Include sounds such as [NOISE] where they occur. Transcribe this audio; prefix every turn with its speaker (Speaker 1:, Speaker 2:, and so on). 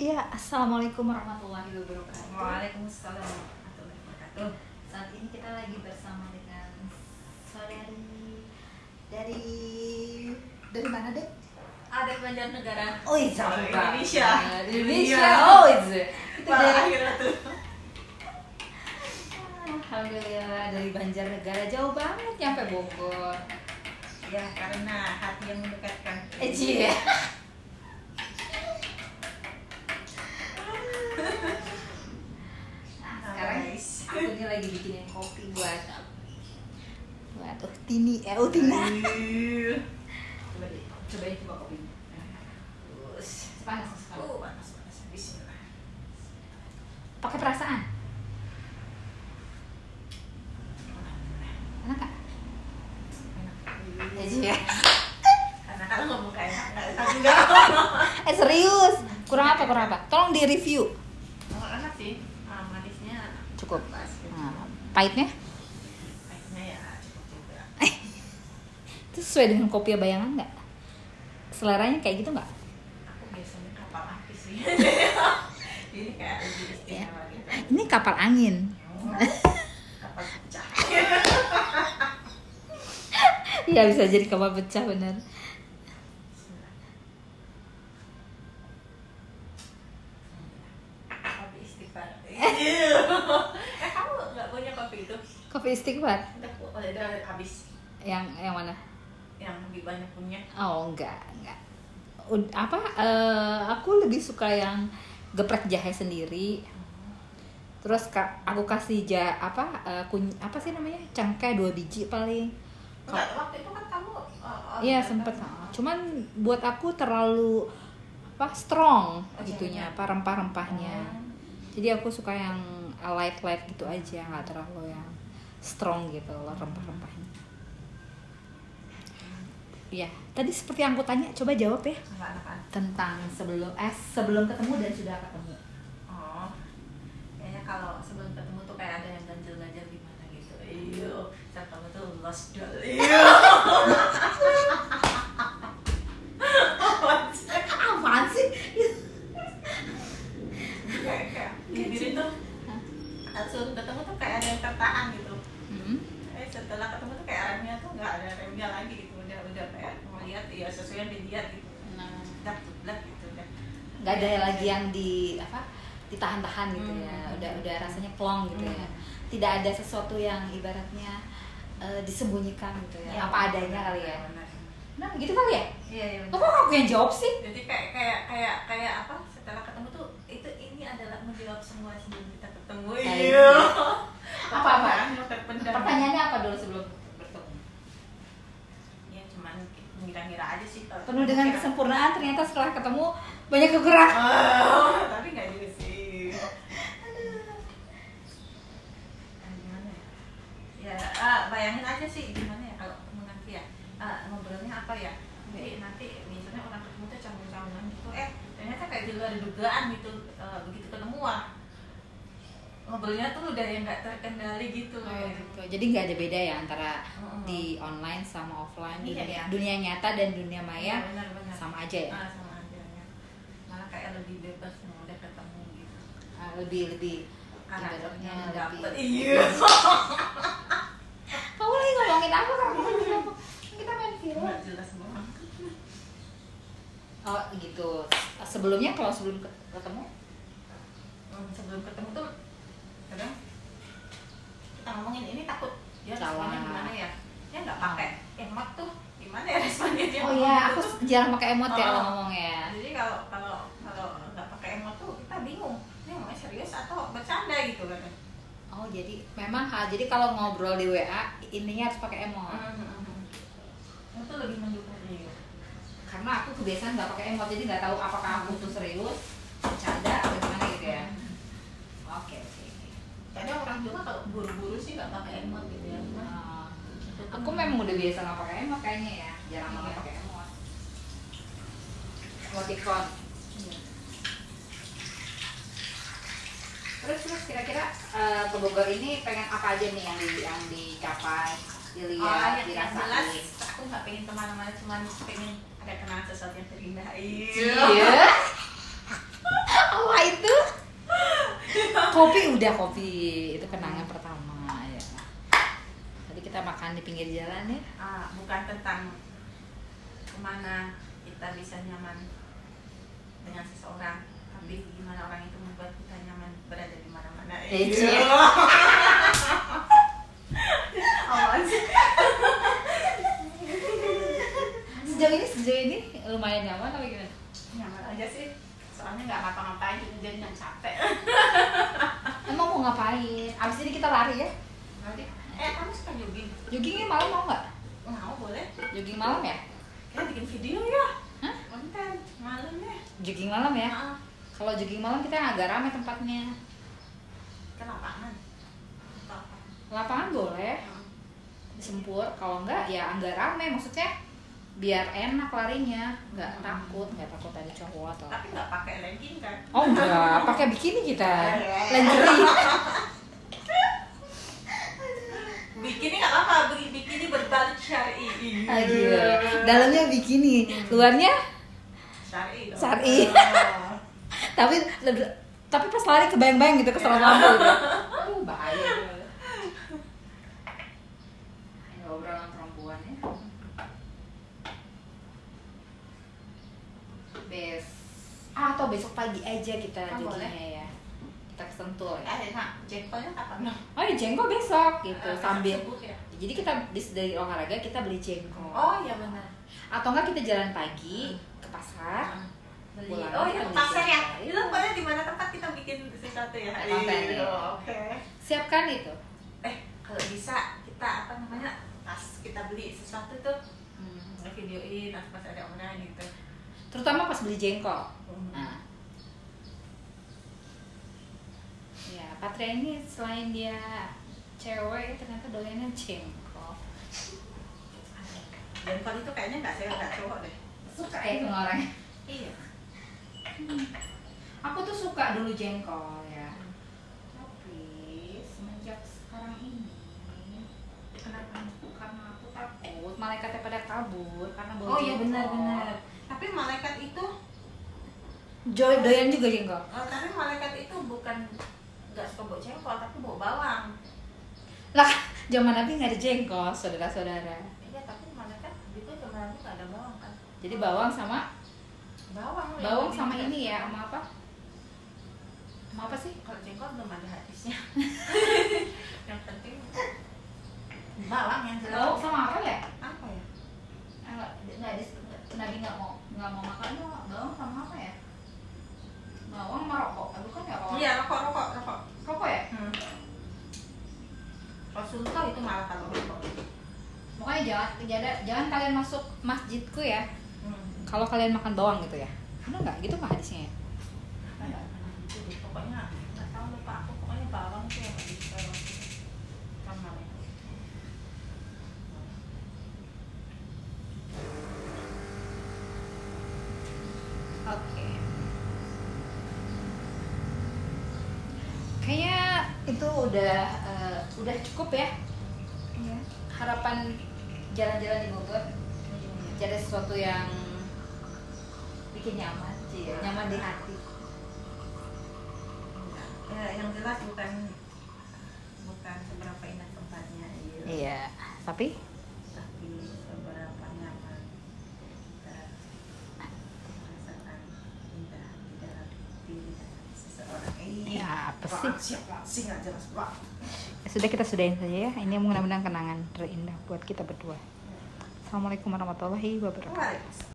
Speaker 1: Iya, Assalamualaikum warahmatullahi wabarakatuh.
Speaker 2: Waalaikumsalam warahmatullahi wabarakatuh.
Speaker 1: Saat ini kita lagi bersama dengan saudari dari dari mana deh?
Speaker 2: Ada Banjarnegara.
Speaker 1: Oh iya, bukan.
Speaker 2: Dari Indonesia.
Speaker 1: Dari Indonesia.
Speaker 2: Iya.
Speaker 1: Oh iya. Kita
Speaker 2: Wah,
Speaker 1: dari
Speaker 2: akhirnya tuh.
Speaker 1: Alhamdulillah dari Banjarnegara jauh banget nyampe Bogor.
Speaker 2: Ya, karena hati yang mendekatkan. Iya.
Speaker 1: Eh cie. Nah, sekarang
Speaker 2: Guys.
Speaker 1: aku ini lagi bikinin kopi buat buat Uhtini eh Uhtina.
Speaker 2: Aduh.
Speaker 1: Coba deh, cobain coba kopi.
Speaker 2: Terus.
Speaker 1: Panas sekali.
Speaker 2: Uh, panas-panas. Bismillah.
Speaker 1: Pakai perasaan. Enak gak?
Speaker 2: Enak.
Speaker 1: Eh, cie.
Speaker 2: Karena kalau ngomong kayak enak, nggak enak juga.
Speaker 1: Eh serius, kurang apa kurang apa? Tolong di review.
Speaker 2: Oh, enak sih. Ah, manisnya
Speaker 1: Cukup.
Speaker 2: pas. gitu.
Speaker 1: Nah, pahitnya?
Speaker 2: Pahitnya ya cukup juga.
Speaker 1: Itu sesuai dengan kopi bayangan nggak? Seleranya kayak gitu nggak?
Speaker 2: Aku biasanya kapal api [LAUGHS] sih. Ini kayak lebih istimewa gitu.
Speaker 1: Ini kapal angin. [LAUGHS]
Speaker 2: Ya. Kapal pecah.
Speaker 1: Iya bisa jadi kapal pecah bener.
Speaker 2: Bismillah. Kopi
Speaker 1: [LAUGHS]
Speaker 2: istighfar. eh kamu nggak punya kopi itu?
Speaker 1: Kopi istighfar.
Speaker 2: Udah, udah habis.
Speaker 1: Yang yang mana?
Speaker 2: Yang lebih banyak punya.
Speaker 1: Oh enggak enggak. Ud- apa? eh, aku lebih suka yang geprek jahe sendiri. Oh. Terus ka- aku kasih ja apa eh, kun- apa sih namanya cengkeh dua biji paling.
Speaker 2: Enggak, waktu itu kan kamu. oh, oh,
Speaker 1: Iya
Speaker 2: ternyata-
Speaker 1: sempet. Cuman buat aku terlalu apa strong
Speaker 2: Oh,
Speaker 1: gitunya
Speaker 2: jahenya.
Speaker 1: apa rempah-rempahnya.
Speaker 2: Hmm.
Speaker 1: Jadi aku suka yang light light gitu aja, nggak terlalu yang strong gitu loh rempah-rempahnya. Ya, tadi seperti yang aku tanya, coba jawab ya
Speaker 2: Enggak enakan.
Speaker 1: tentang sebelum eh sebelum ketemu dan sudah ketemu.
Speaker 2: Oh. Kayaknya kalau sebelum ketemu tuh kayak ada yang ganjel-ganjel gimana gitu. Iya. Saat kamu tuh lost doll. Iya. Apaan sih?
Speaker 1: Apaan sih?
Speaker 2: Kayak- kayak bibir itu langsung ketemu tuh kayak ada yang tertahan gitu
Speaker 1: Hmm.
Speaker 2: eh setelah ketemu tuh kayak remnya tuh nggak ada remnya lagi gitu udah udah kayak melihat ya sesuai yang dilihat gitu
Speaker 1: Nah,
Speaker 2: udah udah gitu udah
Speaker 1: nggak ada lagi yang di apa ditahan-tahan gitu ya
Speaker 2: Hmm.
Speaker 1: udah udah rasanya plong gitu ya
Speaker 2: Hmm.
Speaker 1: tidak ada sesuatu yang ibaratnya eh, disembunyikan gitu ya, apa adanya kali ya
Speaker 2: benar.
Speaker 1: nah gitu kali ya
Speaker 2: iya iya
Speaker 1: lo
Speaker 2: benar.
Speaker 1: kok aku yang jawab sih
Speaker 2: jadi kayak kayak kayak kayak apa setelah ketemu tuh itu ini adalah menjawab semua sebelum kita ketemu
Speaker 1: Iya.
Speaker 2: apa apa
Speaker 1: Apa-apa?
Speaker 2: yang terpendam
Speaker 1: pertanyaannya apa dulu sebelum bertemu
Speaker 2: ya cuman ngira-ngira aja sih kalau
Speaker 1: penuh dengan
Speaker 2: ketemu.
Speaker 1: kesempurnaan ternyata setelah ketemu banyak kekurangan
Speaker 2: Oh, tapi nggak juga sih. Ah, gimana ya? Ya, ah, bayangin aja sih gimana ya kalau ketemu nanti ya. Ah, ngobrolnya apa ya?
Speaker 1: Iya.
Speaker 2: Nanti, nanti misalnya orang ketemu tuh canggung-canggungan gitu. Eh, ternyata kayak di luar dugaan gitu. Eh, begitu ketemu ah. Ngobrolnya tuh udah yang nggak terkendali gitu. kayak.
Speaker 1: gitu. Jadi nggak ada beda ya antara
Speaker 2: Mm-mm.
Speaker 1: di online sama offline, dunia,
Speaker 2: Iya, iya.
Speaker 1: dunia nyata dan dunia maya
Speaker 2: Iya, benar-benar.
Speaker 1: sama aja ya.
Speaker 2: Ah, sama aja ya. Malah kayak lebih bebas mau udah ketemu gitu.
Speaker 1: Ah, Lebih lebih
Speaker 2: Anaknya
Speaker 1: ibaratnya
Speaker 2: dapet.
Speaker 1: lebih
Speaker 2: Iya.
Speaker 1: Kamu lagi ngomongin apa? Kamu ngomongin apa? Kita main film.
Speaker 2: Nggak jelas banget.
Speaker 1: Oh gitu. Sebelumnya kalau sebelum ke- ketemu,
Speaker 2: Hmm, sebelum ketemu tuh kadang kita ngomongin ini takut ya responnya
Speaker 1: Salah.
Speaker 2: gimana ya dia nggak pakai emot tuh gimana ya responnya dia
Speaker 1: oh
Speaker 2: ngomong
Speaker 1: iya,
Speaker 2: gitu
Speaker 1: aku
Speaker 2: tuh.
Speaker 1: jarang pakai emot ya
Speaker 2: Oh.
Speaker 1: kalau ngomong ya.
Speaker 2: jadi kalau kalau kalau nggak pakai emot tuh kita bingung ini ngomongnya serius atau bercanda gitu kan
Speaker 1: Oh jadi memang ha, jadi kalau ngobrol di WA intinya harus pakai emot.
Speaker 2: itu tuh lebih mendukung dia
Speaker 1: Karena aku kebiasaan nggak pakai emot jadi nggak tahu apakah aku tuh serius, bercanda atau gimana gitu ya. Oke oke. oke.
Speaker 2: kadang orang juga kalau buru-buru sih nggak pakai emot gitu ya Cuman
Speaker 1: Ah,
Speaker 2: itu tuh-
Speaker 1: aku memang udah biasa nggak pakai emot kayaknya ya, jarang banget
Speaker 2: Iya.
Speaker 1: pakai emot. Emoticon.
Speaker 2: Iya.
Speaker 1: Terus terus kira-kira eh, ke Bogor ini pengen apa aja nih yang di yang dicapai,
Speaker 2: Ah,
Speaker 1: dilihat,
Speaker 2: yang yang jelas
Speaker 1: dirasain?
Speaker 2: aku nggak pengen kemana-mana cuman pengen ada kenangan sesuatu yang terindah
Speaker 1: Iya. kopi udah kopi itu kenangan pertama ya. Tadi kita makan di pinggir jalan ya.
Speaker 2: Ah, bukan tentang kemana kita bisa nyaman dengan seseorang tapi gimana orang itu membuat kita nyaman berada di mana-mana
Speaker 1: Eh,
Speaker 2: Iya.
Speaker 1: iya.
Speaker 2: Apaan sih?
Speaker 1: Sejauh ini sejauh ini lumayan nyaman apa gimana?
Speaker 2: nyaman aja sih soalnya nggak ngapa-ngapain jadi yang capek
Speaker 1: Emang mau ngapain? Abis ini kita lari ya.
Speaker 2: nanti eh kamu suka jogging
Speaker 1: Joggingnya malam mau nggak?
Speaker 2: mau boleh
Speaker 1: Jogging malam ya?
Speaker 2: kita bikin video ya
Speaker 1: Hah?
Speaker 2: konten malam ya
Speaker 1: Jogging malam ya?
Speaker 2: Maaf,
Speaker 1: Kalau jogging malam kita agak ramai tempatnya.
Speaker 2: ke lapangan Atau apa?
Speaker 1: Lapangan boleh.
Speaker 2: Heeh.
Speaker 1: disempur kalau enggak ya enggak rame maksudnya biar enak larinya nggak
Speaker 2: Hmm.
Speaker 1: takut nggak takut ada cowok atau
Speaker 2: tapi nggak pakai legging kan
Speaker 1: oh enggak pakai bikini kita
Speaker 2: Eh.
Speaker 1: lingerie
Speaker 2: bikini nggak apa-apa beli bikini berbalut syari
Speaker 1: Ah, gila. dalamnya bikini luarnya
Speaker 2: syari dong.
Speaker 1: Syar'i.
Speaker 2: Oh.
Speaker 1: [LAUGHS] tapi tapi pas lari kebayang-bayang gitu kesel lampu [LAUGHS] gitu. Aduh, bahaya gitu. Ini obrolan perempuan ya. Bes ah, atau besok pagi aja kita
Speaker 2: Ah,
Speaker 1: jadinya
Speaker 2: boleh.
Speaker 1: ya. Kita kesentul ya.
Speaker 2: eh nak jengkolnya kapan
Speaker 1: Oh ya jengkol besok gitu
Speaker 2: Eh,
Speaker 1: sambil.
Speaker 2: sibuk ya?
Speaker 1: Jadi kita bis dari olahraga kita beli jengkol.
Speaker 2: oh iya benar
Speaker 1: Atau enggak kita jalan pagi ke pasar.
Speaker 2: beli
Speaker 1: Pulang
Speaker 2: oh iya
Speaker 1: ke
Speaker 2: ke pasar ya
Speaker 1: Indonesia.
Speaker 2: itu pada di mana tempat kita bikin sesuatu ya
Speaker 1: Ada konten,
Speaker 2: Iya,
Speaker 1: iya.
Speaker 2: oke
Speaker 1: Siapkan itu.
Speaker 2: eh kalau bisa kita apa namanya pas kita beli sesuatu tuh videoin atau pas ada orang gitu
Speaker 1: Hmm. Terutama pas beli jengkol. Nah. Ya, Patria ini selain dia cewek ternyata doyannya jengkol.
Speaker 2: jengkol itu kayaknya nggak cewek nggak cowok deh
Speaker 1: Suka ya sama orang.
Speaker 2: iya
Speaker 1: Aku tuh suka dulu jengkol ya. Tapi semenjak sekarang ini
Speaker 2: kenapa
Speaker 1: karena aku takut malaikatnya pada kabur karena bau
Speaker 2: oh iya
Speaker 1: jengkol.
Speaker 2: benar benar tapi malaikat itu
Speaker 1: Jo doyan juga jengkol.
Speaker 2: eh, tapi malaikat itu bukan nggak suka bau jengkol tapi bau bawang
Speaker 1: Lah, zaman Nabi nggak ada jengkol, saudara-saudara.
Speaker 2: iya tapi malaikat itu sebenarnya nggak ada bawang kan
Speaker 1: Jadi bawang sama
Speaker 2: bawang ya.
Speaker 1: bawang sama ini ya, sama apa? Sama apa sih?
Speaker 2: kalau jengkol belum ada
Speaker 1: [LAUGHS]
Speaker 2: habisnya yang penting bawang yang
Speaker 1: Bawang
Speaker 2: jelas
Speaker 1: sama apa Eh, ya?
Speaker 2: apa ya
Speaker 1: Enggak, enggak di Nabi enggak mau enggak mau makan tuh bawang sama apa ya? Bawang sama rokok. Aduh kan ya rokok.
Speaker 2: iya rokok rokok rokok
Speaker 1: Rokok ya?
Speaker 2: hmm. Rasulullah itu malah kalau rokok
Speaker 1: Pokoknya jangan jangan, jangan kalian masuk masjidku ya.
Speaker 2: hmm.
Speaker 1: Kalau kalian makan bawang gitu ya. Benar enggak? Gitu enggak hadisnya ya?
Speaker 2: Kayak gitu deh. pokoknya nggak tahu lupa aku pokoknya bawang tuh yang nggak bisa sama
Speaker 1: Oke. Kayaknya itu udah eh, udah cukup ya.
Speaker 2: Iya.
Speaker 1: Harapan jalan-jalan di Bogor jadi sesuatu yang bikin nyaman sih, nyaman di hati.
Speaker 2: ya yang jelas bukan bukan seberapa indah tempatnya iya
Speaker 1: Iya, tapi
Speaker 2: tapi seberapa nyaman kita merasakan indah di dalam diri seseorang Eh, ini
Speaker 1: ya apa sih?
Speaker 2: siapa sih nggak jelas banget
Speaker 1: Sudah kita sudahin saja ya. Ini mudah-mudahan kenangan terindah buat kita berdua. Assalamualaikum warahmatullahi wabarakatuh.
Speaker 2: Waalaikumsalam.